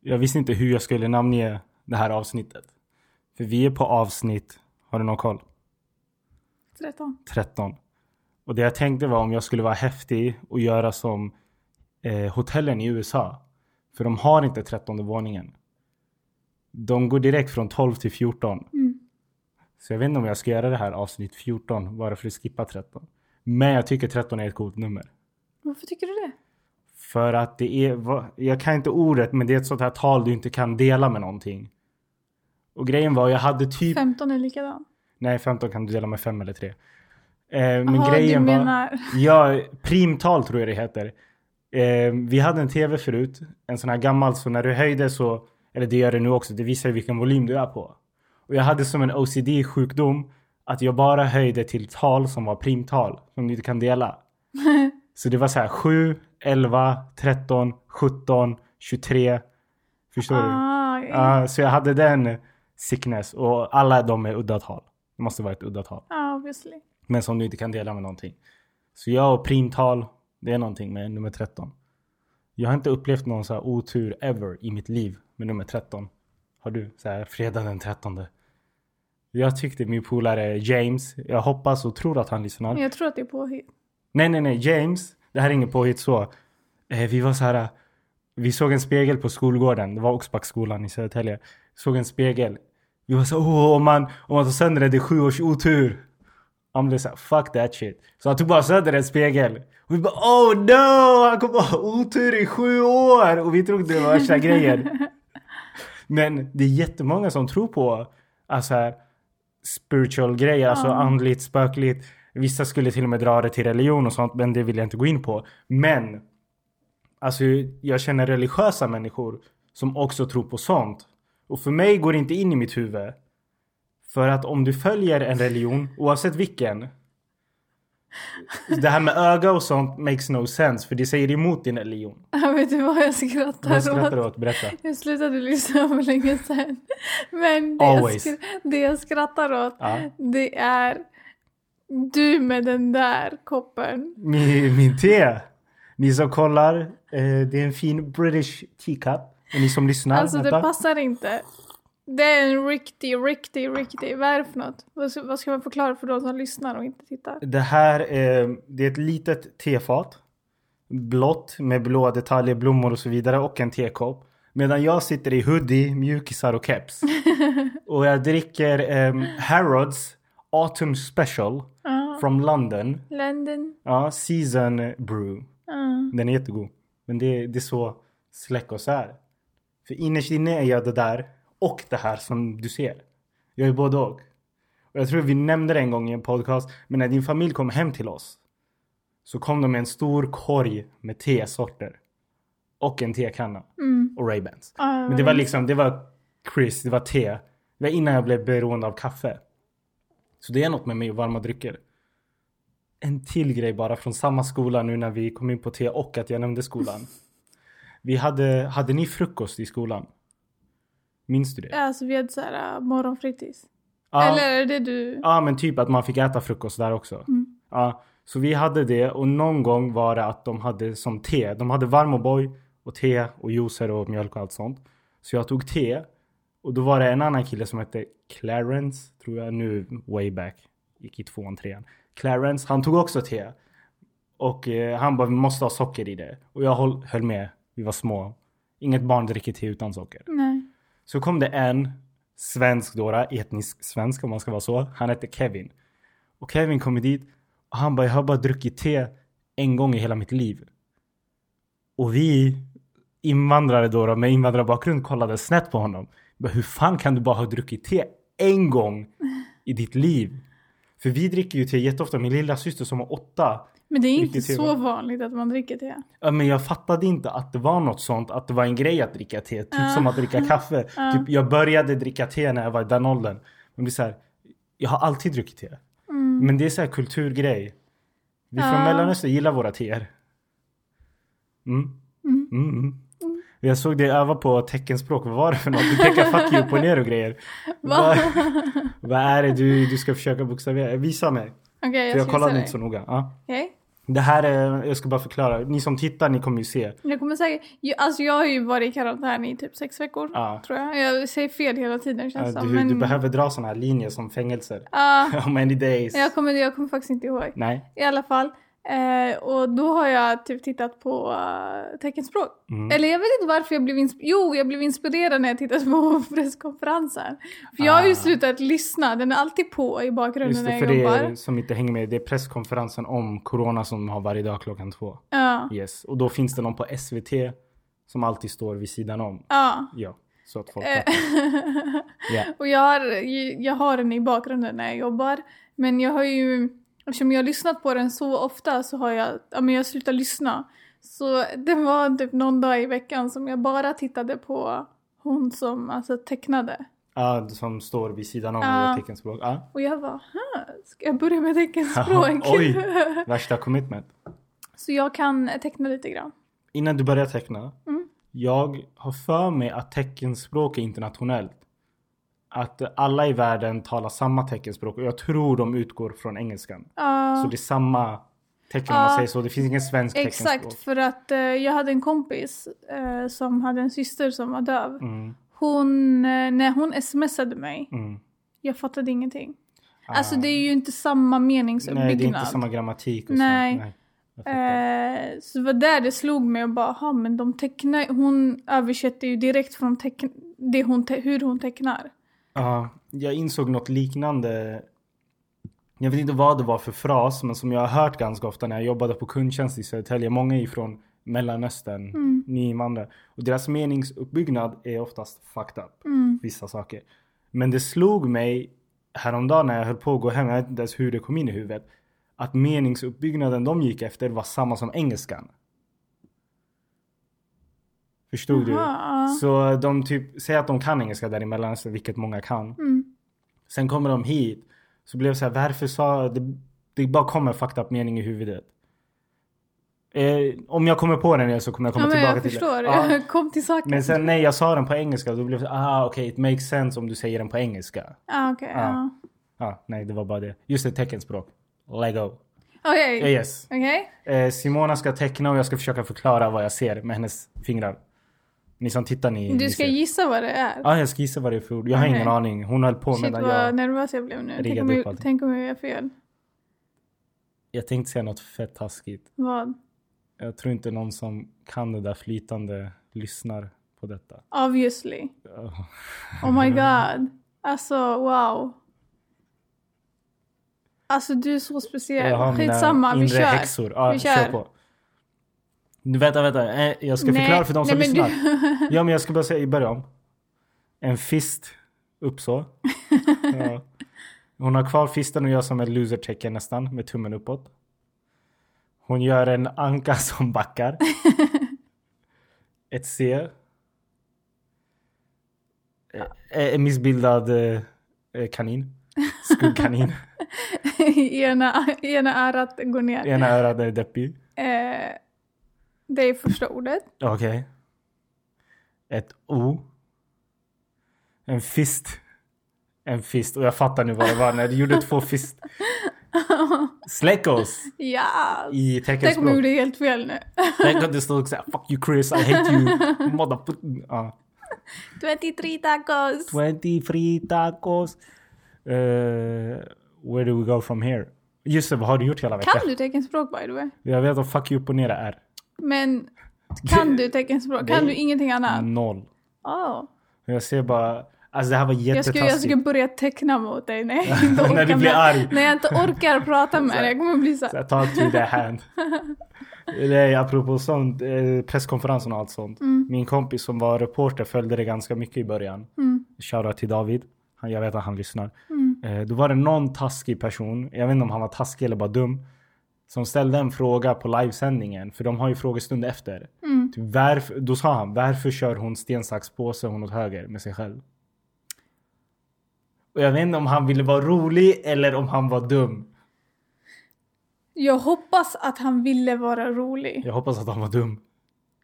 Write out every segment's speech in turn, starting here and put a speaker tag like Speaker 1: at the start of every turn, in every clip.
Speaker 1: jag visste inte hur jag skulle namnge det här avsnittet. För vi är på avsnitt, har du någon koll?
Speaker 2: 13.
Speaker 1: 13. Och det jag tänkte var om jag skulle vara häftig och göra som eh, hotellen i USA. För de har inte 13 våningen. De går direkt från 12 till 14.
Speaker 2: Mm.
Speaker 1: Så jag vet inte om jag ska göra det här avsnitt 14 bara för att skippa 13. Men jag tycker 13 är ett coolt nummer.
Speaker 2: Varför tycker du det?
Speaker 1: För att det är, va- jag kan inte ordet men det är ett sånt här tal du inte kan dela med någonting. Och grejen var jag hade typ,
Speaker 2: 15 är likadan.
Speaker 1: nej 15 kan du dela med 5 eller 3. Eh, men
Speaker 2: Jaha,
Speaker 1: grejen
Speaker 2: du
Speaker 1: var...
Speaker 2: menar...
Speaker 1: Ja, primtal tror jag det heter. Eh, vi hade en tv förut, en sån här gammal, så när du höjde så, eller det gör det nu också, det visar ju vilken volym du är på. Och jag hade som en OCD-sjukdom att jag bara höjde till tal som var primtal, som du inte kan dela. så det var så här 7, 11, 13, 17, 23. Förstår du?
Speaker 2: Ah, ja,
Speaker 1: Ja, så jag hade den sickness och alla de är udda tal. Det måste vara ett udda tal.
Speaker 2: ah, obviously.
Speaker 1: Men som du inte kan dela med någonting. Så jag och primtal, det är någonting med nummer 13. Jag har inte upplevt någon så här otur ever i mitt liv med nummer 13. Har du? Så här fredag den 13. Jag tyckte min polare James, jag hoppas och tror att han lyssnar.
Speaker 2: Men jag tror att det är påhitt.
Speaker 1: Nej, nej, nej. James. Det här är inget påhitt så. Eh, vi var så här. eh, Vi såg en spegel på skolgården. Det var Oxbackskolan i Södertälje. Såg en spegel. Vi var så här, åh, om man, om man tar sönder det, det är sju års otur. Han blev så här, fuck that shit. Så han tog bara sönder en spegel. Och vi bara, oh no! Han kommer ha otur i sju år! Och vi trodde det var värsta grejen. Men det är jättemånga som tror på alltså här, spiritual grejer, alltså andligt, spökligt. Vissa skulle till och med dra det till religion och sånt, men det vill jag inte gå in på. Men alltså, jag känner religiösa människor som också tror på sånt. Och för mig går det inte in i mitt huvud. För att om du följer en religion, oavsett vilken. Det här med öga och sånt makes no sense, för det säger emot din religion.
Speaker 2: Vet du vad jag skrattar,
Speaker 1: Vad skrattar du
Speaker 2: åt?
Speaker 1: åt? Berätta.
Speaker 2: Jag slutade lyssna för länge sedan. Men det, jag,
Speaker 1: Always. Ah.
Speaker 2: skra- det jag skrattar åt,
Speaker 1: Ja.
Speaker 2: det är du med den där koppen.
Speaker 1: Min, min te. Ni som kollar, eh, det är en fin British teacup. Och ni som lyssnar,
Speaker 2: alltså det
Speaker 1: vänta.
Speaker 2: passar inte. Det är en riktig, riktig, riktig. Vad är det för något? Vad ska, vad ska man förklara för de som lyssnar och inte tittar?
Speaker 1: Det här eh, det är ett litet tefat. Blått med blåa detaljer, blommor och så vidare och en tekopp. Medan jag sitter i hoodie, mjukisar och keps. och jag dricker eh, Harrods Autumn Special
Speaker 2: Ja.
Speaker 1: from London.
Speaker 2: London.
Speaker 1: Ja, Season Brew.
Speaker 2: Ja.
Speaker 1: Den är jättegod. Men det, det är så släck oss är. För innerst inne är jag det där och det här som du ser. Jag är både och. Och jag tror vi nämnde det en gång i en podcast. Men när din familj kom hem till oss. Så kom de med en stor korg med tesorter. Och en tekanna.
Speaker 2: Mm.
Speaker 1: Och Ray-Bans.
Speaker 2: Ja, jag
Speaker 1: Men det var
Speaker 2: vet.
Speaker 1: liksom, det var Chris, det var te. Det var innan jag blev beroende av kaffe. Så det är något med mig och varma drycker. En till grej bara från samma skola nu när vi kom in på te och att jag nämnde skolan. Vi hade, hade ni frukost i skolan? Minns du det? Ja,
Speaker 2: Alltså vi hade så här äh, morgonfritids.
Speaker 1: ah,
Speaker 2: Eller är det du?
Speaker 1: ah, men typ att man fick äta frukost där också.
Speaker 2: Mm.
Speaker 1: Ja, så vi hade det och någon gång var det att de hade som te. De hade varm O'boy och te och juicer och mjölk och allt sånt. Så jag tog te och då var det en annan kille som hette Clarence, tror jag nu, way back. Gick i tvåan, trean. Clarence, han tog också te. Och eh, han bara, vi måste ha socker i det. Och jag höll, höll med, vi var små. Inget barn dricker te utan socker.
Speaker 2: Nej.
Speaker 1: Så kom det en svensk dåra, etnisk svensk om man ska vara så. Han hette Kevin. Och Kevin kommer dit och han bara, jag har bara druckit te en gång i hela mitt liv. Och vi invandrare då, då med invandrarbakgrund kollade snett på honom. Bara, Hur fan kan du bara ha druckit te en gång i ditt liv? För vi dricker ju te jätteofta. Min lilla syster som har åtta.
Speaker 2: Men det är inte
Speaker 1: Riktigt
Speaker 2: så
Speaker 1: trevligt.
Speaker 2: vanligt att man dricker te.
Speaker 1: Ja, men jag fattade inte att det var något sånt, att det var en grej att dricka te. Typ som att dricka kaffe. Typ, jag började dricka te när jag var i den åldern. Men det är så här, jag har alltid druckit te. Men det är så här kulturgrej. Vi från
Speaker 2: Ja.
Speaker 1: Mellanöstern gillar våra teer. Mm. Mm. Mm. Jag såg dig öva på teckenspråk. Vad var det för något? Du pekade fuck you på ner och grejer. Vad, vad är det du, du ska försöka bokstavera? Visa mig.
Speaker 2: Okej,
Speaker 1: För
Speaker 2: jag,
Speaker 1: jag
Speaker 2: ska visa
Speaker 1: kollade
Speaker 2: dig.
Speaker 1: inte så noga. Ja.
Speaker 2: Okej.
Speaker 1: Det här är, jag ska bara förklara. Ni som tittar, ni kommer ju se.
Speaker 2: Jag kommer säkert, ju- alltså jag har ju varit i karantän i typ sex veckor.
Speaker 1: Ja.
Speaker 2: Tror jag. Jag säger fel hela tiden känns
Speaker 1: Eh, Du,
Speaker 2: det som, Alltså, men,
Speaker 1: du behöver dra såna här linjer som fängelser.
Speaker 2: Ja,
Speaker 1: How many days?
Speaker 2: jag, kommer, jag kommer faktiskt inte ihåg.
Speaker 1: Nej.
Speaker 2: I alla fall. Eh, och då har jag typ tittat på eh, teckenspråk.
Speaker 1: Mm.
Speaker 2: Eller jag vet inte varför jag blev inspirerad. Jo, jag blev inspirerad när jag tittade på presskonferensen. För jag har ju
Speaker 1: Ah.
Speaker 2: slutat lyssna. Den är alltid på i bakgrunden
Speaker 1: Just det,
Speaker 2: när
Speaker 1: för
Speaker 2: jag
Speaker 1: det
Speaker 2: jobbar.
Speaker 1: är, som inte hänger med. Det är presskonferensen om corona som har varje dag klockan två.
Speaker 2: Ja.
Speaker 1: Yes. Och då finns det någon på SVT som alltid står vid sidan om.
Speaker 2: ja.
Speaker 1: Ja, så att folk...
Speaker 2: Eh,
Speaker 1: Ja.
Speaker 2: och jag har, ju- jag har den i bakgrunden när jag jobbar. Men jag har ju, eftersom jag har lyssnat på den så ofta så har jag, ja men jag slutar lyssna. Så det var typ någon dag i veckan som jag bara tittade på hon som alltså tecknade.
Speaker 1: Ja, som står vid sidan om
Speaker 2: Ja.
Speaker 1: i teckenspråk. Ja.
Speaker 2: Och jag bara, "Huh, ska jag börja med teckenspråk?
Speaker 1: Oj. Värsta commitment.
Speaker 2: så jag kan teckna lite grann.
Speaker 1: Innan du börjar teckna.
Speaker 2: Mm.
Speaker 1: Jag har för mig att teckenspråk är internationellt. Att alla i världen talar samma teckenspråk och jag tror de utgår från engelskan.
Speaker 2: Ja,
Speaker 1: Så det är samma tecken om
Speaker 2: Ja.
Speaker 1: man säger så. Det finns ingen svensk
Speaker 2: exakt,
Speaker 1: teckenspråk.
Speaker 2: för att eh, jag hade en kompis eh, som hade en syster som var döv.
Speaker 1: Mm,
Speaker 2: Hon, eh, när hon smsade mig,
Speaker 1: mm.
Speaker 2: jag fattade ingenting.
Speaker 1: Ah.
Speaker 2: Alltså det är ju inte samma meningsuppbyggnad.
Speaker 1: Nej, det är inte samma grammatik och
Speaker 2: Nej.
Speaker 1: så. Nej. Jag fattar.
Speaker 2: Eh, så det var där det slog mig och bara, "Aha, men de tecknar, hon översätter ju direkt från teck- det hon te- hur hon tecknar.
Speaker 1: Ja, jag insåg något liknande. Jag vet inte vad det var för fras, men som jag har hört ganska ofta när jag jobbade på kundtjänst i Södertälje. Många är från Mellanöstern,
Speaker 2: Mm.
Speaker 1: nyinvandrare. Och deras meningsuppbyggnad är oftast fucked up,
Speaker 2: Mm.
Speaker 1: vissa saker. Men det slog mig häromdagen när jag höll på att gå hem, jag vet inte ens hur det kom in i huvudet, att meningsuppbyggnaden de gick efter var samma som engelskan. Förstod du?
Speaker 2: Jaha, ja.
Speaker 1: Så de typ, säger att de kan engelska där i Mellanöstern, vilket många kan.
Speaker 2: Mm.
Speaker 1: Sen kommer de hit. Så blev det så här, varför sa... Det, det bara kommer en fucked up mening i huvudet. Eh, om jag kommer på den nu så kommer jag komma
Speaker 2: ja, men
Speaker 1: tillbaka
Speaker 2: jag
Speaker 1: till det.
Speaker 2: förstår.
Speaker 1: Ja.
Speaker 2: Kom till saken.
Speaker 1: Men sen nej, jag sa den på engelska. Då blev det så här, ah okej, it makes sense om du säger den på engelska.
Speaker 2: Ah, okej.
Speaker 1: Ja.
Speaker 2: ja.
Speaker 1: Ja, nej, det var bara det. Just det, teckenspråk.
Speaker 2: Mm.
Speaker 1: Lego.
Speaker 2: Okej.
Speaker 1: Eh, yes.
Speaker 2: Okej.
Speaker 1: Eh, Simona ska teckna och jag ska försöka förklara vad jag ser med hennes fingrar. Ni som tittar, ni,
Speaker 2: Du
Speaker 1: ni
Speaker 2: ska
Speaker 1: ser.
Speaker 2: gissa vad det är.
Speaker 1: Ja, jag ska gissa vad det är för ord. Jag har
Speaker 2: Okej.
Speaker 1: ingen aning. Hon höll på
Speaker 2: Shit
Speaker 1: medan
Speaker 2: vad
Speaker 1: jag...
Speaker 2: nervös jag blev nu. Tänk
Speaker 1: riggade
Speaker 2: om
Speaker 1: upp
Speaker 2: jag,
Speaker 1: allting.
Speaker 2: tänk om jag gör fel.
Speaker 1: Jag tänkte säga något fett taskigt.
Speaker 2: Vad?
Speaker 1: Jag tror inte någon som kan det där flytande lyssnar på detta.
Speaker 2: Obviously.
Speaker 1: Åh,
Speaker 2: Oh my god. Alltså wow. Alltså du är så
Speaker 1: jag har
Speaker 2: speciell.
Speaker 1: mina
Speaker 2: Skitsamma, vi
Speaker 1: Eh, inre
Speaker 2: kör.
Speaker 1: häxor. Ja,
Speaker 2: Vi
Speaker 1: vi
Speaker 2: kör.
Speaker 1: kör. på. Nu, vänta, vänta. Eh, Jag ska förklara för de som
Speaker 2: nej,
Speaker 1: lyssnar.
Speaker 2: men du-
Speaker 1: Ja, men jag ska bara säga, börja om. En fist upp så. Ja. Hon har kvar fisten och gör som ett losertecken nästan med tummen uppåt. Hon gör en anka som backar. Ett C. Eh, En missbildad eh, eh, kanin. Skuggkanin.
Speaker 2: I ena, i ena örat går ner.
Speaker 1: Ena örat är deppig.
Speaker 2: Eh, det är första ordet.
Speaker 1: Okej. Ett O. En fist. En fist. Och jag fattar nu vad det var när du gjorde två fist. Släckos
Speaker 2: Ja.
Speaker 1: i
Speaker 2: Tänk om jag
Speaker 1: teckenspråk.
Speaker 2: gjorde helt fel nu.
Speaker 1: Tänk om det stod såhär Fuck you Chris, I hate you. Motherfucker. Ja.
Speaker 2: 23 tacos.
Speaker 1: 20 free tacos. Eh, where do we go from here? Just det, vad har du gjort hela veckan?
Speaker 2: Kan du teckenspråk by the way?
Speaker 1: Jag vet att fuck you upp och ner är.
Speaker 2: Men kan du teckenspråk? Kan
Speaker 1: Nej.
Speaker 2: du ingenting annat?
Speaker 1: Noll.
Speaker 2: Åh.
Speaker 1: Jag ser bara, alltså det här var
Speaker 2: Jag skulle, jag
Speaker 1: jättetaskigt.
Speaker 2: skulle börja teckna mot dig när jag inte
Speaker 1: När
Speaker 2: orkar
Speaker 1: du blir
Speaker 2: med-
Speaker 1: arg.
Speaker 2: När jag inte orkar prata med dig. Jag kommer bli så här.
Speaker 1: Så jag tar till det hand. Nej, apropå sånt, eh, presskonferensen och allt sånt. Min kompis som var reporter följde det ganska mycket i början.
Speaker 2: Mm.
Speaker 1: Shoutout till David. Han, jag vet att han lyssnar.
Speaker 2: Mm.
Speaker 1: Eh, då var det någon taskig person, jag vet inte om han var taskig eller bara dum, som ställde en fråga på livesändningen. För de har ju frågestund efter.
Speaker 2: Mm.
Speaker 1: Typ, varför, då sa han, varför kör hon sten, sax, påse hon åt höger med sig själv? Och jag vet inte om han ville vara rolig eller om han var dum.
Speaker 2: Jag hoppas att han ville vara rolig.
Speaker 1: Jag hoppas att han var dum.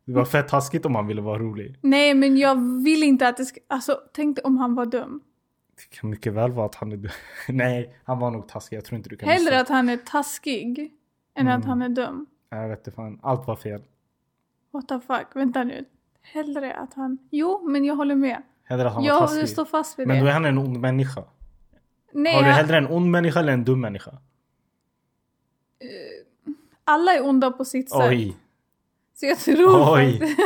Speaker 1: Det var fett taskigt om han ville vara rolig.
Speaker 2: Nej men jag vill inte att det ska... Alltså tänk dig om han var dum.
Speaker 1: Det kan mycket väl vara att han är dum. Nej, han var nog taskig. Jag tror inte du kan
Speaker 2: Hellre
Speaker 1: missa.
Speaker 2: att han är taskig än
Speaker 1: Mm.
Speaker 2: att han är dum.
Speaker 1: Jag vet inte fan. Allt var fel.
Speaker 2: What the fuck, vänta nu. Hellre att han... Jo, men jag håller med.
Speaker 1: Hellre att han var
Speaker 2: Jag
Speaker 1: taskig.
Speaker 2: står fast vid
Speaker 1: Men då
Speaker 2: det.
Speaker 1: är han en ond människa.
Speaker 2: Nej,
Speaker 1: Har du
Speaker 2: jag-
Speaker 1: hellre en ond människa eller en dum människa?
Speaker 2: alla är onda på sitt sätt.
Speaker 1: Oj.
Speaker 2: Så jag tror
Speaker 1: Oj.
Speaker 2: faktiskt...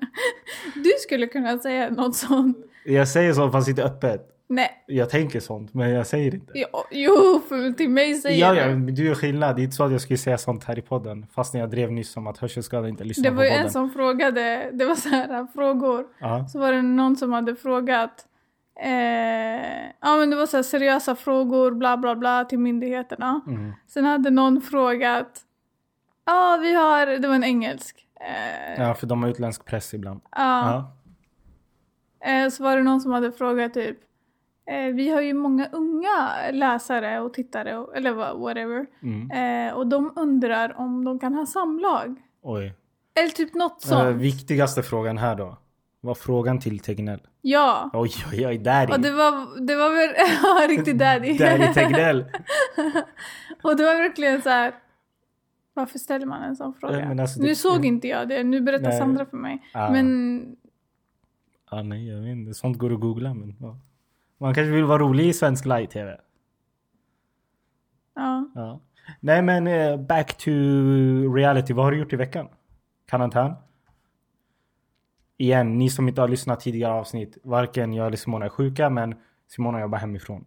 Speaker 2: du skulle kunna säga något sånt.
Speaker 1: Jag säger sånt fast inte öppet.
Speaker 2: Nej,
Speaker 1: Jag tänker sånt men jag säger inte.
Speaker 2: jo, jo för till mig säger
Speaker 1: Ja,
Speaker 2: du.
Speaker 1: ja, men du är skillnad. Det är inte så att jag skulle säga sånt här i podden. Fast när jag drev nyss om att hörselskadade inte lyssnar
Speaker 2: Det
Speaker 1: på
Speaker 2: var ju
Speaker 1: podden.
Speaker 2: en som frågade, det var så här äh, frågor.
Speaker 1: Ja.
Speaker 2: Så var det någon som hade frågat, eh, ja men det var så här seriösa frågor, bla bla bla till myndigheterna.
Speaker 1: Mm.
Speaker 2: Sen hade någon frågat, ja vi har, det var en engelsk. Eh,
Speaker 1: ja, för de har utländsk press ibland.
Speaker 2: ja.
Speaker 1: Ja.
Speaker 2: Eh, så var det någon som hade frågat typ, eh, vi har ju många unga läsare och tittare, och, eller vad- whatever.
Speaker 1: Mm.
Speaker 2: Eh, och de undrar om de kan ha samlag.
Speaker 1: Oj.
Speaker 2: Eller typ något
Speaker 1: Eh,
Speaker 2: sånt.
Speaker 1: viktigaste frågan här då. Var frågan till Tegnell?
Speaker 2: Ja.
Speaker 1: Oj, oj, oj. Daddy.
Speaker 2: Och det var, det var väl, ja riktigt daddy.
Speaker 1: Daddy Tegnell.
Speaker 2: och det var verkligen så här. Varför ställer man en sån fråga?
Speaker 1: Nej, men alltså
Speaker 2: nu
Speaker 1: det-
Speaker 2: såg inte jag det, nu berättar
Speaker 1: Nej.
Speaker 2: Sandra för mig.
Speaker 1: Ah.
Speaker 2: Men
Speaker 1: Ja, nej, jag vet inte. Sånt går att googla. Men, ja. Man kanske vill vara rolig i svensk live-tv.
Speaker 2: ja,
Speaker 1: Ja. Nej, men eh, back to reality. Vad har du gjort i veckan? Karantän? Igen, ni som inte har lyssnat tidigare avsnitt. Varken jag eller Simona är sjuka, men Simona jobbar hemifrån.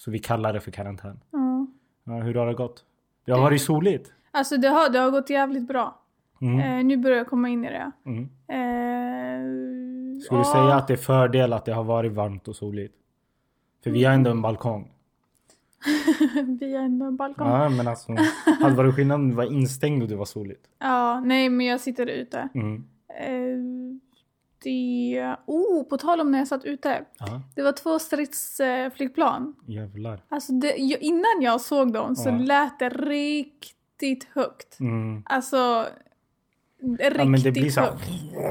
Speaker 1: Så vi kallar det för karantän.
Speaker 2: ja.
Speaker 1: Ja, hur har det gått? Det har varit soligt.
Speaker 2: Alltså det har, det har gått jävligt bra.
Speaker 1: Mm.
Speaker 2: Eh, nu börjar jag komma in i det.
Speaker 1: Mm.
Speaker 2: Eh,
Speaker 1: Skulle du
Speaker 2: ja.
Speaker 1: säga att det är fördel att det har varit varmt och soligt? För vi har ändå en balkong.
Speaker 2: Vi har ändå en balkong. Ja.
Speaker 1: Ja, men alltså. Hade varit skillnad om du var instängd och det var soligt.
Speaker 2: nej men jag sitter ute.
Speaker 1: Mm.
Speaker 2: Eh, det... Oh, på tal om när jag satt ute.
Speaker 1: Ja,
Speaker 2: Det var två stridsflygplan
Speaker 1: jävlar.
Speaker 2: Alltså det, ju- innan jag såg dem så
Speaker 1: Ja.
Speaker 2: lät det riktigt högt.
Speaker 1: Mm.
Speaker 2: Alltså riktigt
Speaker 1: Ja, men det blir så här-
Speaker 2: högt.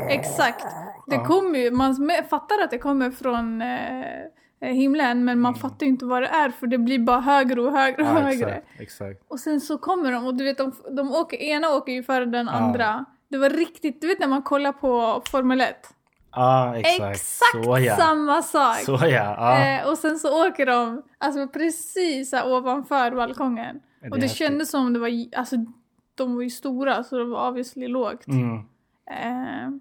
Speaker 2: Exakt. Det
Speaker 1: Ja.
Speaker 2: kommer ju, man me- fattar att det kommer från eh, himlen men man fattar ju inte vad det är för det blir bara högre och högre och
Speaker 1: Mm. Ja,
Speaker 2: högre.
Speaker 1: exakt, exakt.
Speaker 2: Och sen så kommer de och du vet de, de åker, ena åker ju före den
Speaker 1: Ja.
Speaker 2: andra. Det var riktigt, du vet när man kollar på Formel 1.
Speaker 1: Ja,
Speaker 2: Exakt,
Speaker 1: exakt. så, Ah, ja.
Speaker 2: samma sak.
Speaker 1: Så Ah. ja, ja.
Speaker 2: Eh, och sen så åker de alltså, precis så här, ovanför balkongen.
Speaker 1: Det
Speaker 2: och det
Speaker 1: är
Speaker 2: kändes som det var, j- alltså de var ju stora så det var obviously lågt.
Speaker 1: Mm.
Speaker 2: Eh,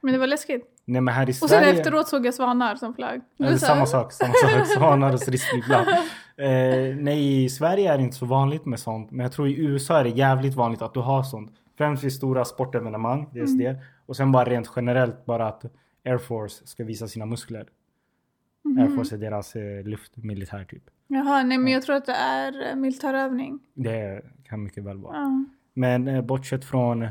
Speaker 2: men det var läskigt.
Speaker 1: Nej men här i
Speaker 2: Och sen
Speaker 1: Sverige.
Speaker 2: efteråt såg jag svanar som flög. Det
Speaker 1: Ja,
Speaker 2: var
Speaker 1: det är
Speaker 2: så
Speaker 1: samma
Speaker 2: här,
Speaker 1: sak, samma sak. Svanar och stridsflygplan. Eh, nej, i Sverige är det inte så vanligt med sånt. Men jag tror i USA är det jävligt vanligt att du har sånt. Främst vid stora sportevenemang,
Speaker 2: Mm.
Speaker 1: dels det. Och sen bara rent generellt bara att Air Force ska visa sina muskler.
Speaker 2: Mm.
Speaker 1: Air Force är deras eh, luftmilitär typ.
Speaker 2: Mhm. Jaha, nej men jag tror att det är eh, militärövning.
Speaker 1: Det kan mycket väl vara.
Speaker 2: Ja.
Speaker 1: Men eh, bortsett från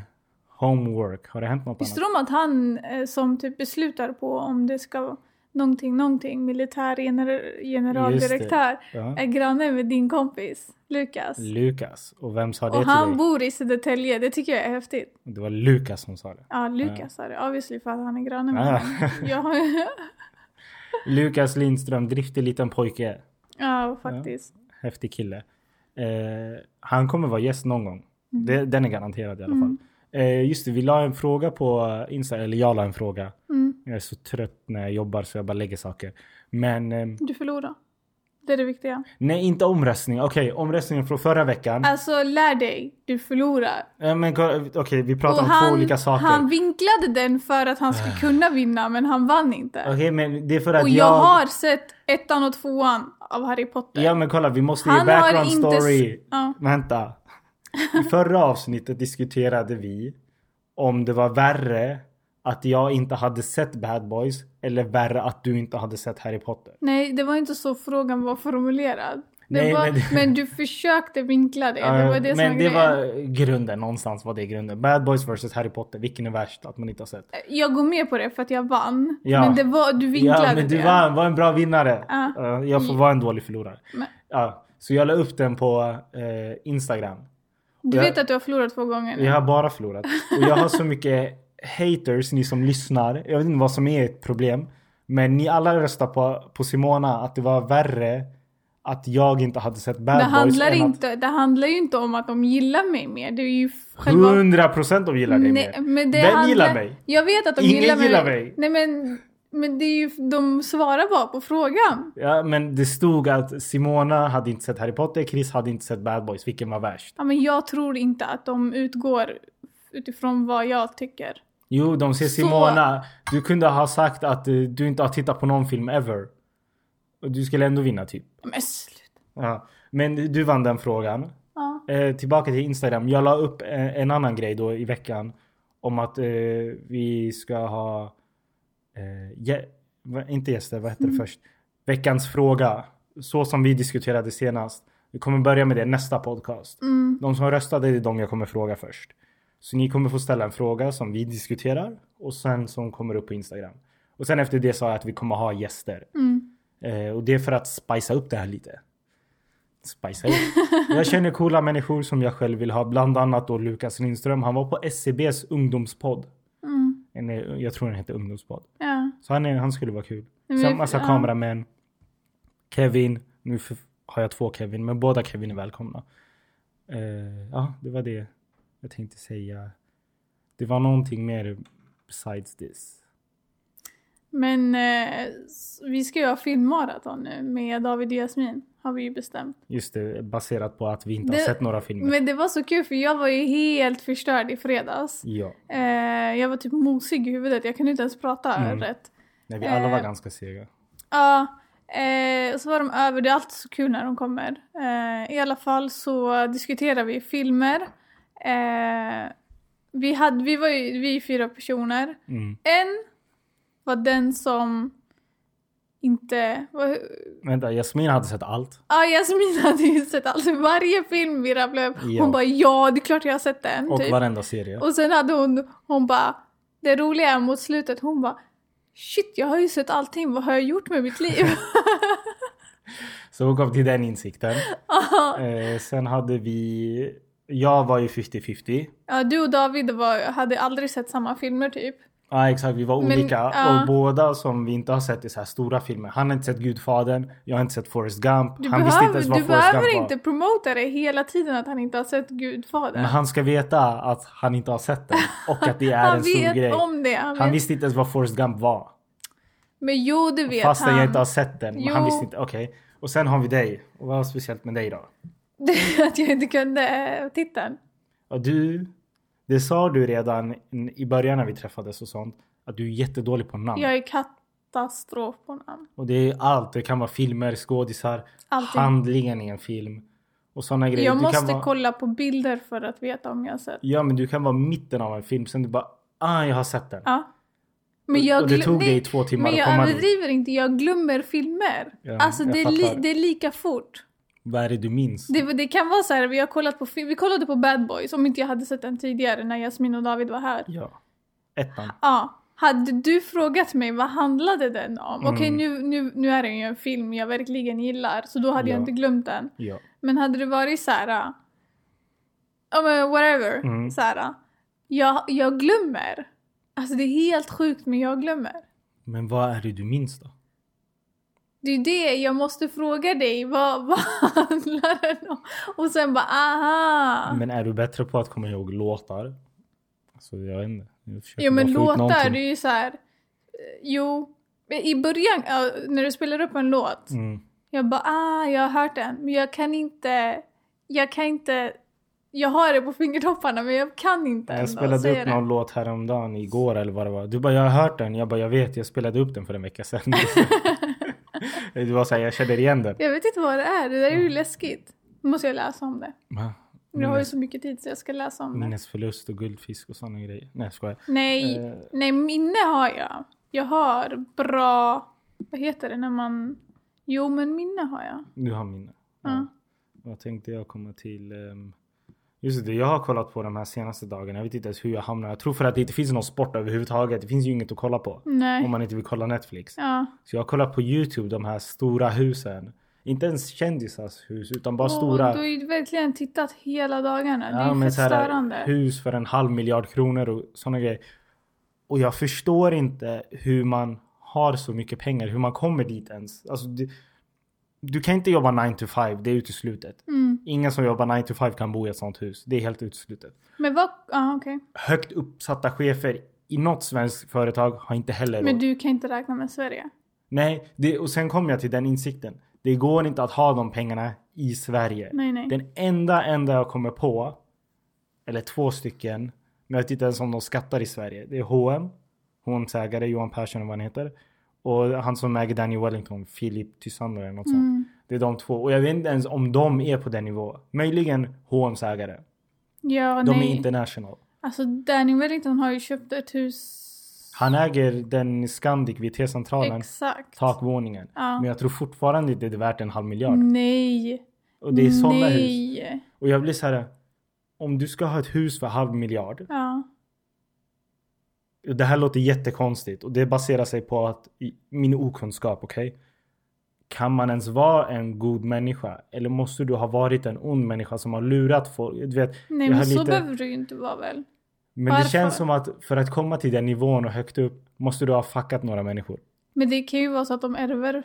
Speaker 1: homework, har det hänt något
Speaker 2: Visste
Speaker 1: annat?
Speaker 2: du om att han eh, som typ beslutar på om det ska vara någonting, någonting, militär gener- generaldirektör
Speaker 1: Ja.
Speaker 2: är granne med din kompis Lukas.
Speaker 1: Lukas. Och vem sa det
Speaker 2: Och
Speaker 1: till
Speaker 2: han
Speaker 1: dig?
Speaker 2: bor i Södertälje, det tycker jag är häftigt.
Speaker 1: Det var Lukas som sa det.
Speaker 2: Ja, Lukas sa det. Obviously för att han är granne med
Speaker 1: Ja.
Speaker 2: honom. Ja,
Speaker 1: Lukas Lindström, driftig liten pojke.
Speaker 2: ja, faktiskt.
Speaker 1: Häftig kille. Eh, han kommer vara gäst någon gång.
Speaker 2: Mm.
Speaker 1: Det, den är garanterad i alla fall. Eh, just det, vi la en fråga på Insta, eller jag la en fråga.
Speaker 2: Mm.
Speaker 1: Jag är så trött när jag jobbar så jag bara lägger saker. Men eh,
Speaker 2: Du förlorar. Det är det viktiga.
Speaker 1: nej, inte omröstning. Okej, omröstningen från förra veckan.
Speaker 2: Alltså lär dig, du förlorar.
Speaker 1: Eh, men ko- okej, vi pratar
Speaker 2: Och
Speaker 1: om två olika saker.
Speaker 2: han vinklade den för att han skulle kunna vinna men han vann inte.
Speaker 1: Okej, men det är för Alltså, att
Speaker 2: Och jag har sett ettan och tvåan av Harry Potter.
Speaker 1: Ja men kolla vi måste ge
Speaker 2: Han har
Speaker 1: background
Speaker 2: inte... s-
Speaker 1: story.
Speaker 2: Ja.
Speaker 1: Vänta. I förra avsnittet diskuterade vi om det var värre att jag inte hade sett Bad Boys eller värre att du inte hade sett Harry Potter.
Speaker 2: Nej, det var inte så frågan var formulerad. Det
Speaker 1: Nej,
Speaker 2: var,
Speaker 1: men
Speaker 2: men...
Speaker 1: det-
Speaker 2: du försökte vinkla det. Det
Speaker 1: Eh,
Speaker 2: var det som
Speaker 1: men det
Speaker 2: grejen.
Speaker 1: var grunden någonstans var det grunden. Bad Boys vs Harry Potter, vilken är värst att man inte har sett?
Speaker 2: Jag går med på det för att jag vann.
Speaker 1: Ja.
Speaker 2: Men det var, du vinklade
Speaker 1: Ja men du
Speaker 2: det.
Speaker 1: vann, var en bra vinnare.
Speaker 2: Ja.
Speaker 1: Eh, jag får vara en dålig förlorare.
Speaker 2: Men-
Speaker 1: Ja, så jag la upp den på eh, Instagram.
Speaker 2: Du
Speaker 1: Jag-
Speaker 2: vet att du har förlorat två gånger nu.
Speaker 1: Jag har bara förlorat. Och jag har så mycket haters, ni som lyssnar. Jag vet inte vad som är ett problem. Men ni alla röstar på, på Simona att det var värre att jag inte hade sett Bad
Speaker 2: det,
Speaker 1: Boys.
Speaker 2: handlar
Speaker 1: än
Speaker 2: inte, det handlar ju inte om att de gillar mig mer. Det är ju
Speaker 1: Att
Speaker 2: själva...
Speaker 1: 100 procent de gillar dig
Speaker 2: Nej,
Speaker 1: mer.
Speaker 2: men det
Speaker 1: Vem
Speaker 2: handlar...
Speaker 1: gillar mig?
Speaker 2: Jag vet att de
Speaker 1: Ingen
Speaker 2: gillar mig.
Speaker 1: gillar mig.
Speaker 2: Nej men, men det är ju, de svarar bara på frågan.
Speaker 1: Ja, men det stod att Simona hade inte sett Harry Potter, Chris hade inte sett Bad Boys. Vilken var värst?
Speaker 2: Ja, men jag tror inte att de utgår utifrån vad jag tycker.
Speaker 1: Jo, de ser
Speaker 2: Så-
Speaker 1: Simona. Du kunde ha sagt att eh, du inte har tittat på någon film ever. Och du skulle ändå vinna typ.
Speaker 2: Men sluta.
Speaker 1: Ja. Men du vann den frågan.
Speaker 2: Ja.
Speaker 1: Eh, tillbaka till Instagram. Jag la upp eh, en annan grej då i veckan. Om att eh, vi ska ha... Eh, gä- va- inte gäster, vad heter det först? Veckans fråga. Så som vi diskuterade senast. Vi kommer börja med det nästa podcast.
Speaker 2: Mm.
Speaker 1: De som röstade är de jag kommer fråga först. Så ni kommer få ställa en fråga som vi diskuterar och sen som kommer upp på Instagram. Och sen efter det sa jag att vi kommer ha gäster.
Speaker 2: Mm.
Speaker 1: Eh, och det är för att spicea upp det här lite. Spicea upp. Jag känner coola människor som jag själv vill ha. Bland annat då Lukas Lindström. Han var på SCBs ungdomspodd.
Speaker 2: Mm.
Speaker 1: En, eh, Jag tror den hette ungdomspodd.
Speaker 2: Ja.
Speaker 1: Så han, är, han skulle vara kul.
Speaker 2: Men vi-
Speaker 1: Sen massa
Speaker 2: Mm. ja.
Speaker 1: kameramän. Kevin. Nu f- har jag två Kevin, men båda Kevin är välkomna. Eh, ja, det var det jag tänkte säga. Det var någonting mer besides this.
Speaker 2: Men eh, s- vi ska ju ha filmmaraton nu med David och Jasmin. Har vi ju bestämt.
Speaker 1: Just det, baserat på att vi inte
Speaker 2: Det-
Speaker 1: har sett några filmer.
Speaker 2: Men det var så kul för jag var ju helt förstörd i fredags.
Speaker 1: Ja,
Speaker 2: Eh, jag var typ mosig i huvudet. Jag kunde inte ens prata
Speaker 1: Mm.
Speaker 2: rätt.
Speaker 1: nej, vi alla var
Speaker 2: Eh,
Speaker 1: ganska sega.
Speaker 2: Ja, eh, och så var de över. Det är alltid så kul när de kommer. Eh, I alla fall så diskuterar vi filmer. Eh, vi, hade, vi var ju vi är fyra personer.
Speaker 1: Mm.
Speaker 2: En var den som inte... var-
Speaker 1: Vänta, Jasmin hade sett allt.
Speaker 2: Ja, ah, Jasmin hade ju sett alltså varje film vi rabblade upp.
Speaker 1: Ja.
Speaker 2: Hon bara ja, det är klart jag har sett den.
Speaker 1: Och
Speaker 2: typ.
Speaker 1: varenda serie.
Speaker 2: Och sen hade hon, hon bara, det roliga är mot slutet, hon bara Shit, jag har ju sett allting, vad har jag gjort med mitt liv?
Speaker 1: Så hon kom till den insikten.
Speaker 2: Ja.
Speaker 1: Eh, sen hade vi... Jag var ju 50-50.
Speaker 2: Ja, du och David var, hade aldrig sett samma filmer typ.
Speaker 1: Ja exakt, vi var
Speaker 2: Men,
Speaker 1: olika.
Speaker 2: ja.
Speaker 1: Och båda som vi inte har sett i så här stora filmer. Han har inte sett Gudfadern, jag har inte sett Forrest Gump.
Speaker 2: Du,
Speaker 1: han visste inte
Speaker 2: behöver,
Speaker 1: ens vad
Speaker 2: du
Speaker 1: Forrest Gump
Speaker 2: behöver inte
Speaker 1: var.
Speaker 2: promota det hela tiden att han inte har sett Gudfadern.
Speaker 1: Men han ska veta att han inte har sett den. Och att det är
Speaker 2: Han
Speaker 1: en stor
Speaker 2: vet
Speaker 1: grej.
Speaker 2: om det. Han
Speaker 1: Han
Speaker 2: vet.
Speaker 1: visste inte ens vad Forrest Gump var.
Speaker 2: Men jo, det vet
Speaker 1: Fastän
Speaker 2: han.
Speaker 1: jag inte har sett den. Men han
Speaker 2: Jo.
Speaker 1: visste inte. Okej. Och sen har vi dig. Och vad var speciellt med dig då?
Speaker 2: att jag inte kunde eh, titeln.
Speaker 1: Och du, det sa du redan i början när vi träffades och sånt. Att du är jättedålig på namn.
Speaker 2: Jag är katastrof på namn.
Speaker 1: Och det är allt. Det kan vara filmer, skådisar,
Speaker 2: Allting.
Speaker 1: handlingen i en film. Och sådana grejer.
Speaker 2: jag
Speaker 1: Du kan
Speaker 2: måste
Speaker 1: vara,
Speaker 2: kolla på bilder för att veta om jag har sett.
Speaker 1: Ja men du kan vara mitten av en film sen du bara ah jag har sett den.
Speaker 2: Ja. Men jag
Speaker 1: och det
Speaker 2: glö-
Speaker 1: tog
Speaker 2: nej,
Speaker 1: dig två timmar
Speaker 2: Men
Speaker 1: att
Speaker 2: jag
Speaker 1: komma dit.
Speaker 2: överdriver inte, jag glömmer filmer.
Speaker 1: Ja,
Speaker 2: alltså
Speaker 1: jag
Speaker 2: det är, li-
Speaker 1: fattar.
Speaker 2: det är lika fort.
Speaker 1: Vad är det du minns?
Speaker 2: Det, det kan vara så här, vi har kollat på film, vi kollade på Bad Boys om inte jag hade sett den tidigare när Jasmin och David var här. Ja,
Speaker 1: Ja. Ettan.
Speaker 2: hade du frågat mig vad handlade den om?
Speaker 1: Mm.
Speaker 2: Okej nu, nu, nu är det ju en film jag verkligen gillar så då hade
Speaker 1: Ja.
Speaker 2: jag inte glömt den.
Speaker 1: Ja.
Speaker 2: Men hade det varit så här, ja men whatever,
Speaker 1: Mm.
Speaker 2: så här, jag, jag glömmer. Alltså det är helt sjukt men jag glömmer.
Speaker 1: Men vad är det du minns då?
Speaker 2: Det är ju det jag måste fråga dig, vad, vad handlar den om? Och sen bara aha!
Speaker 1: Men är du bättre på att komma ihåg låtar? Alltså jag vet inte. Jag försöker
Speaker 2: Jo
Speaker 1: bara
Speaker 2: men
Speaker 1: få ut
Speaker 2: låtar,
Speaker 1: någonting.
Speaker 2: det är ju så här. eh, Jo, men i början ja, när du spelar upp en låt.
Speaker 1: Mm.
Speaker 2: Jag bara ah, jag har hört den. Men jag kan inte, jag kan inte, jag har det på fingertopparna men jag kan inte
Speaker 1: Jag
Speaker 2: ändå
Speaker 1: spelade
Speaker 2: säga
Speaker 1: upp
Speaker 2: det.
Speaker 1: någon låt häromdagen, igår eller vad det var. Du bara, jag har hört den. Jag bara, jag vet, jag spelade upp den för en vecka sedan. du var såhär, jag känner igen den.
Speaker 2: Jag vet inte vad det är, det där är ju
Speaker 1: Mm.
Speaker 2: läskigt. Nu måste jag läsa om det.
Speaker 1: Va?
Speaker 2: Jag har ju
Speaker 1: Minnes,
Speaker 2: så mycket tid så jag ska läsa om det.
Speaker 1: minnesförlust och guldfisk och sådana grejer. Nej jag skojar.
Speaker 2: Nej,
Speaker 1: Eh.
Speaker 2: nej minne har jag. Jag har bra, vad heter det när man, jo men minne har jag.
Speaker 1: Du har minne.
Speaker 2: Ja.
Speaker 1: Vad tänkte jag komma till? ehm, Just det, jag har kollat på de här senaste dagarna. Jag vet inte ens hur jag hamnar. Jag tror för att det inte finns någon sport överhuvudtaget. Det finns ju inget att kolla på.
Speaker 2: Nej.
Speaker 1: Om man inte vill kolla Netflix.
Speaker 2: Ja.
Speaker 1: Så jag har kollat på YouTube, de här stora husen. Inte ens kändisars hus, utan bara
Speaker 2: Åh,
Speaker 1: stora.
Speaker 2: Du har ju verkligen tittat hela dagarna. det är
Speaker 1: Ja,
Speaker 2: ju
Speaker 1: men
Speaker 2: fett
Speaker 1: så här,
Speaker 2: störande.
Speaker 1: hus för en halv miljard kronor och sådana grejer. Och jag förstår inte hur man har så mycket pengar, hur man kommer dit ens. Alltså, det, du kan inte jobba 9 to 5, det är uteslutet.
Speaker 2: Mm.
Speaker 1: Ingen som jobbar 9 to 5 kan bo i ett sånt hus. Det är helt uteslutet.
Speaker 2: Men vad, ah, okej.
Speaker 1: Högt uppsatta chefer i något svenskt företag har inte heller
Speaker 2: Men
Speaker 1: råd.
Speaker 2: du kan inte räkna med Sverige?
Speaker 1: Nej, det, och sen kom jag till den insikten. Det går inte att ha de pengarna i Sverige.
Speaker 2: Nej, nej.
Speaker 1: Den enda enda jag kommer på, eller två stycken, men jag vet inte ens om de skattar i Sverige. Det är H&M, H&M's ägare Johan Persson och vad han heter. Och han som äger Daniel Wellington, Philip Tysander eller något sånt.
Speaker 2: Mm.
Speaker 1: Det är de två. Och jag vet inte ens om de är på den nivån. Möjligen H&M's ägare.
Speaker 2: Ja,
Speaker 1: De är
Speaker 2: nej.
Speaker 1: international.
Speaker 2: Alltså Danny Wellington har ju köpt ett hus.
Speaker 1: Han äger den Scandic vid T-centralen,
Speaker 2: Exakt.
Speaker 1: takvåningen.
Speaker 2: Ja.
Speaker 1: Men jag tror fortfarande inte det är värt en halv miljard.
Speaker 2: Nej.
Speaker 1: Och det är sådana hus.
Speaker 2: nej. hus.
Speaker 1: Och jag blir så här. Om du ska ha ett hus för halv miljard.
Speaker 2: Ja.
Speaker 1: Och det här låter jättekonstigt och det baserar sig på att i- min okunskap, okej? Kan man ens vara en god människa? Eller måste du ha varit en ond människa som har lurat folk? Du vet,
Speaker 2: Nej
Speaker 1: jag
Speaker 2: men
Speaker 1: har
Speaker 2: så
Speaker 1: lite-
Speaker 2: behöver du ju inte vara väl?
Speaker 1: Men det
Speaker 2: Varför?
Speaker 1: känns som att för att komma till den nivån och högt upp måste du ha fuckat några människor.
Speaker 2: Men det kan ju vara så att de ärver.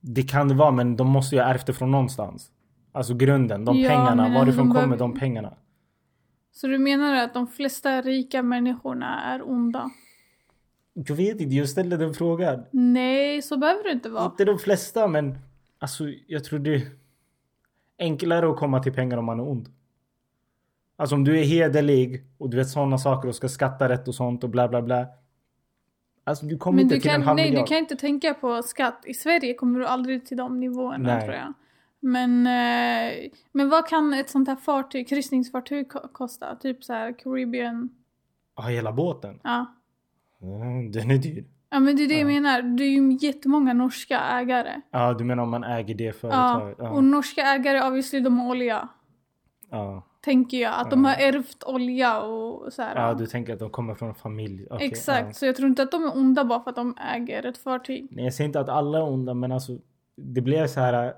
Speaker 1: Det kan det vara men de måste ju ha ärvt det från någonstans. Alltså grunden, de
Speaker 2: Ja,
Speaker 1: pengarna.
Speaker 2: men
Speaker 1: Varifrån
Speaker 2: alltså de
Speaker 1: kommer
Speaker 2: behöver-
Speaker 1: de pengarna?
Speaker 2: Så du menar att de flesta rika människorna är onda?
Speaker 1: Jag vet inte, jag ställde den frågan.
Speaker 2: Nej, så behöver det inte vara.
Speaker 1: Inte de flesta men alltså jag tror det är enklare att komma till pengar om man är ond. Alltså om du är hederlig och du vet sådana saker och ska skatta rätt och sånt och bla bla bla. Alltså du kommer
Speaker 2: Men
Speaker 1: inte
Speaker 2: du
Speaker 1: till en
Speaker 2: kan,
Speaker 1: halv
Speaker 2: nej, du
Speaker 1: miljard.
Speaker 2: kan inte tänka på skatt. I Sverige kommer du aldrig till de nivåerna
Speaker 1: Nej.
Speaker 2: tror jag. Men, eh, men vad kan ett sånt här fartyg, kryssningsfartyg ko- kosta? Typ så här Caribbean?
Speaker 1: Ja, hela båten.
Speaker 2: Ja.
Speaker 1: Mm, Den är dyr.
Speaker 2: Ja men det är det jag
Speaker 1: Ja.
Speaker 2: menar. Det är ju jättemånga norska ägare.
Speaker 1: Ja du menar om man äger det
Speaker 2: Ja.
Speaker 1: företaget? Ja.
Speaker 2: Och norska ägare obviously de har olja.
Speaker 1: ja.
Speaker 2: Tänker jag. Att de
Speaker 1: Ja.
Speaker 2: har ärvt olja och så här.
Speaker 1: Ja, du tänker att de kommer från en familj? Okej,
Speaker 2: Exakt.
Speaker 1: ja.
Speaker 2: Så jag tror inte att de är onda bara för att de äger ett fartyg.
Speaker 1: Nej, jag säger inte att alla är onda, men alltså det blev så här.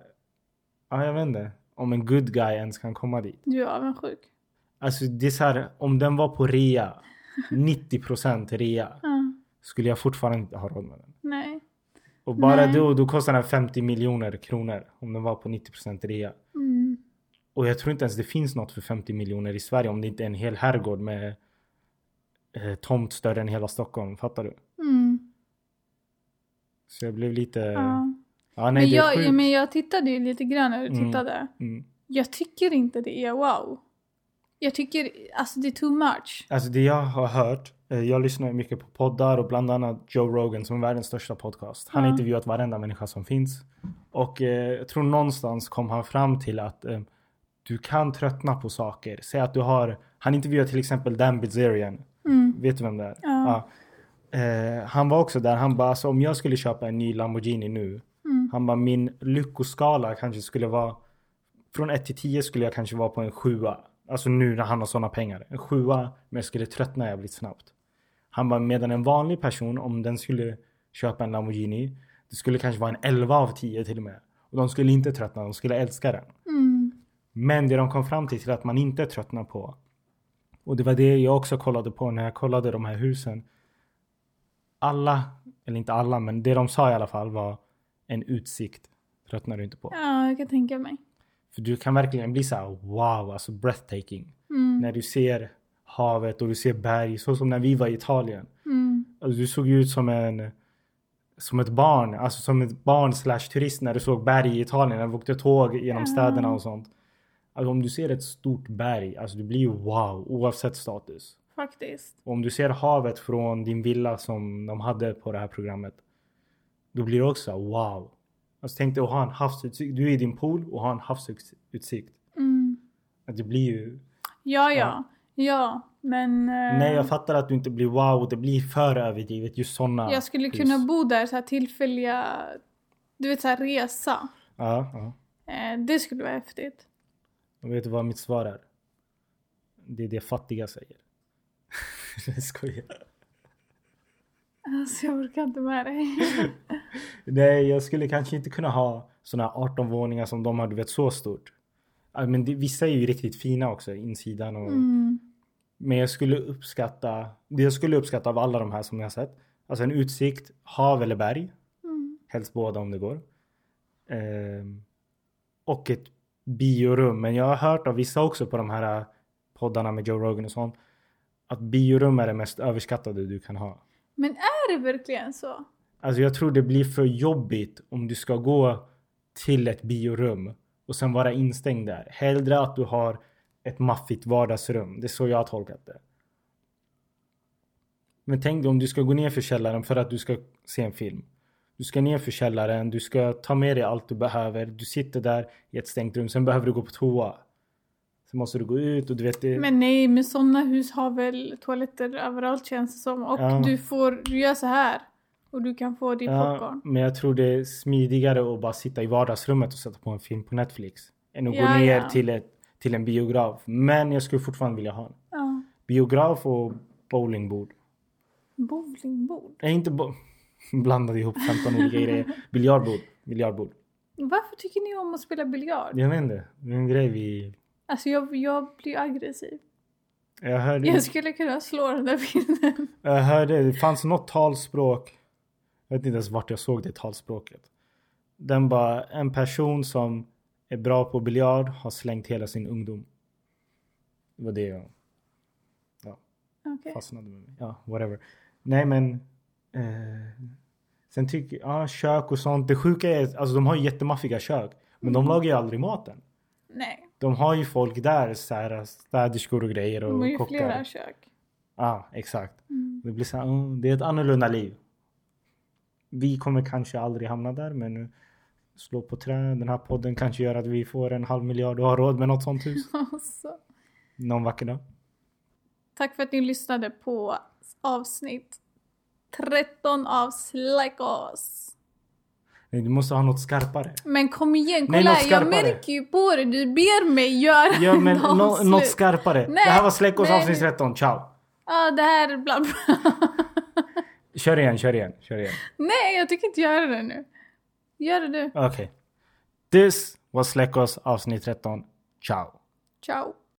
Speaker 1: Ja, jag vet inte om en good guy ens kan komma dit.
Speaker 2: Du är avundsjuk.
Speaker 1: Alltså, det är så här om den var på rea 90 rea
Speaker 2: Ja.
Speaker 1: skulle jag fortfarande inte ha råd med den.
Speaker 2: Nej.
Speaker 1: Och bara
Speaker 2: Nej.
Speaker 1: då, då kostar den 50 miljoner kronor om den var på 90 rea.
Speaker 2: Mm.
Speaker 1: Och jag tror inte ens det finns något för 50 miljoner i Sverige om det inte är en hel herrgård med eh, tomt större än hela Stockholm. Fattar du?
Speaker 2: Mm.
Speaker 1: Så jag blev lite...
Speaker 2: Ja.
Speaker 1: Ja, Eh, nej,
Speaker 2: Men,
Speaker 1: det är
Speaker 2: jag,
Speaker 1: sjukt.
Speaker 2: men jag tittade ju lite grann när du
Speaker 1: Mm.
Speaker 2: tittade.
Speaker 1: Mm.
Speaker 2: Jag tycker inte det är wow. Jag tycker, alltså det är too much.
Speaker 1: Alltså det jag har hört, eh, jag lyssnar ju mycket på poddar och bland annat Joe Rogan som är världens största podcast. Han har
Speaker 2: Ja.
Speaker 1: intervjuat varenda människa som finns. Och eh, jag tror någonstans kom han fram till att eh, du kan tröttna på saker. Säg att du har, han intervjuar till exempel Dan Bilzerian.
Speaker 2: Mm.
Speaker 1: Vet du vem det är?
Speaker 2: Ja.
Speaker 1: Ja. Eh, han var också där, han bara alltså, om jag skulle köpa en ny Lamborghini nu.
Speaker 2: Mm.
Speaker 1: Han bara min lyckoskala kanske skulle vara från 1 till 10 skulle jag kanske vara på en 7 Alltså nu när han har sådana pengar. En 7 men jag skulle tröttna jävligt snabbt. Han bara medan en vanlig person om den skulle köpa en Lamborghini. Det skulle kanske vara en 11 av 10 till och med. Och de skulle inte tröttna, de skulle älska den.
Speaker 2: Mm.
Speaker 1: Men det de kom fram till, till att man inte tröttnar på. Och det var det jag också kollade på när jag kollade de här husen. Alla, eller inte alla, men det de sa i alla fall var en utsikt tröttnar du inte på.
Speaker 2: Ja, jag kan tänka mig.
Speaker 1: För du kan verkligen bli så här wow, alltså breathtaking.
Speaker 2: Mm.
Speaker 1: När du ser havet och du ser berg, så som när vi var i Italien.
Speaker 2: Mm.
Speaker 1: Alltså, du såg ju ut som en som ett barn, alltså som ett barn slash turist när du såg berg i Italien, när du åkte tåg genom
Speaker 2: Ja.
Speaker 1: städerna och sånt. Alltså om du ser ett stort berg, alltså du blir ju wow oavsett status.
Speaker 2: Faktiskt.
Speaker 1: Och om du ser havet från din villa som de hade på det här programmet. Då blir det också wow. Alltså tänk dig att ha en havsutsikt, du är i din pool och har en havsutsikt.
Speaker 2: Mm.
Speaker 1: Att det blir ju...
Speaker 2: Ja, ja. Ja, men... eh,
Speaker 1: Nej jag fattar att du inte blir wow, det blir för överdrivet just sådana
Speaker 2: jag skulle
Speaker 1: hus.
Speaker 2: kunna bo där så här tillfälliga... Du vet, så här resa.
Speaker 1: Ja, ja.
Speaker 2: Eh, det skulle vara häftigt.
Speaker 1: Och vet du vad mitt svar är? Det är det fattiga säger. jag skojar.
Speaker 2: Alltså, jag orkar inte med dig.
Speaker 1: Nej, jag skulle kanske inte kunna ha såna här 18 våningar som de har, du vet så stort. Ja, Men det, vissa är ju riktigt fina också, insidan och...
Speaker 2: Mm.
Speaker 1: Men jag skulle uppskatta, det jag skulle uppskatta av alla de här som jag har sett. Alltså en utsikt, hav eller berg.
Speaker 2: Mm.
Speaker 1: Helst båda om det går. Ehm, och ett biorum. Men jag har hört av vissa också på de här eh, poddarna med Joe Rogan och sånt. Att biorum är det mest överskattade du kan ha.
Speaker 2: Men är det verkligen så?
Speaker 1: Alltså jag tror det blir för jobbigt om du ska gå till ett biorum och sen vara instängd där. Hellre att du har ett maffigt vardagsrum. Det är så jag har tolkat det. Men tänk dig om du ska gå ner för källaren för att du ska se en film. Du ska ner för källaren, du ska ta med dig allt du behöver. Du sitter där i ett stängt rum, sen behöver du gå på toa. Sen måste du gå ut och du vet... Det...
Speaker 2: Men nej, men sådana hus har väl toaletter överallt känns det som. Och
Speaker 1: Ja.
Speaker 2: du får, du gör så här. Och du kan få din popcorn.
Speaker 1: men jag tror det är smidigare att bara sitta i vardagsrummet och sätta på en film på Netflix. Än att gå
Speaker 2: Ja,
Speaker 1: ner
Speaker 2: ja.
Speaker 1: Till, ett, till en biograf. Men jag skulle fortfarande vilja ha en.
Speaker 2: Ja.
Speaker 1: Biograf och bowlingbord.
Speaker 2: Bowlingbord.
Speaker 1: Nej, inte bo- blandade ihop 15 olika grejer. Biljardbord. Biljardbord.
Speaker 2: Varför tycker ni om att spela biljard?
Speaker 1: Jag vet inte. Det är en grej vi...
Speaker 2: Alltså jag, jag blir aggressiv.
Speaker 1: Jag hörde,
Speaker 2: Jag skulle kunna slå den där pinnen.
Speaker 1: jag hörde det fanns något talspråk. Jag vet inte ens vart jag såg det talspråket. Den bara, en person som är bra på biljard har slängt hela sin ungdom. Det var det jag...
Speaker 2: Okej.
Speaker 1: fastnade med mig. Ja, whatever. Nej men. Eh, sen tycker ja kök och sånt. Det sjuka är, alltså de har ju jättemaffiga kök. Men
Speaker 2: Mm.
Speaker 1: de lagar ju aldrig maten.
Speaker 2: Nej,
Speaker 1: De har ju folk där, så här, städerskor och grejer
Speaker 2: de
Speaker 1: och
Speaker 2: har ju flera
Speaker 1: kockar.
Speaker 2: kök.
Speaker 1: Ja, ah, exakt.
Speaker 2: Mm.
Speaker 1: Det blir så här, mm, det är ett annorlunda liv. Vi kommer kanske aldrig hamna där men eh, slå på trä. Den här podden kanske gör att vi får en halv miljard och har råd med något sånt hus.
Speaker 2: Alltså.
Speaker 1: Någon vacker dag.
Speaker 2: Tack för att ni lyssnade på avsnitt 13 av Slackos.
Speaker 1: Nej, Du måste ha något skarpare.
Speaker 2: Men kom igen,
Speaker 1: Nej,
Speaker 2: kolla
Speaker 1: något
Speaker 2: jag
Speaker 1: skarpare.
Speaker 2: märker ju på dig. Du ber mig göra
Speaker 1: Ja men
Speaker 2: ett
Speaker 1: nå-
Speaker 2: avslut.
Speaker 1: något skarpare.
Speaker 2: Nej,
Speaker 1: det här var Släckos
Speaker 2: nej.
Speaker 1: avsnitt 13. Ciao.
Speaker 2: Ja, det här är bla bla.
Speaker 1: Kör igen, kör igen, kör igen.
Speaker 2: Nej, jag tänker inte göra det nu. Gör det du.
Speaker 1: Okej. This was Släckos avsnitt 13. Ciao.
Speaker 2: Ciao.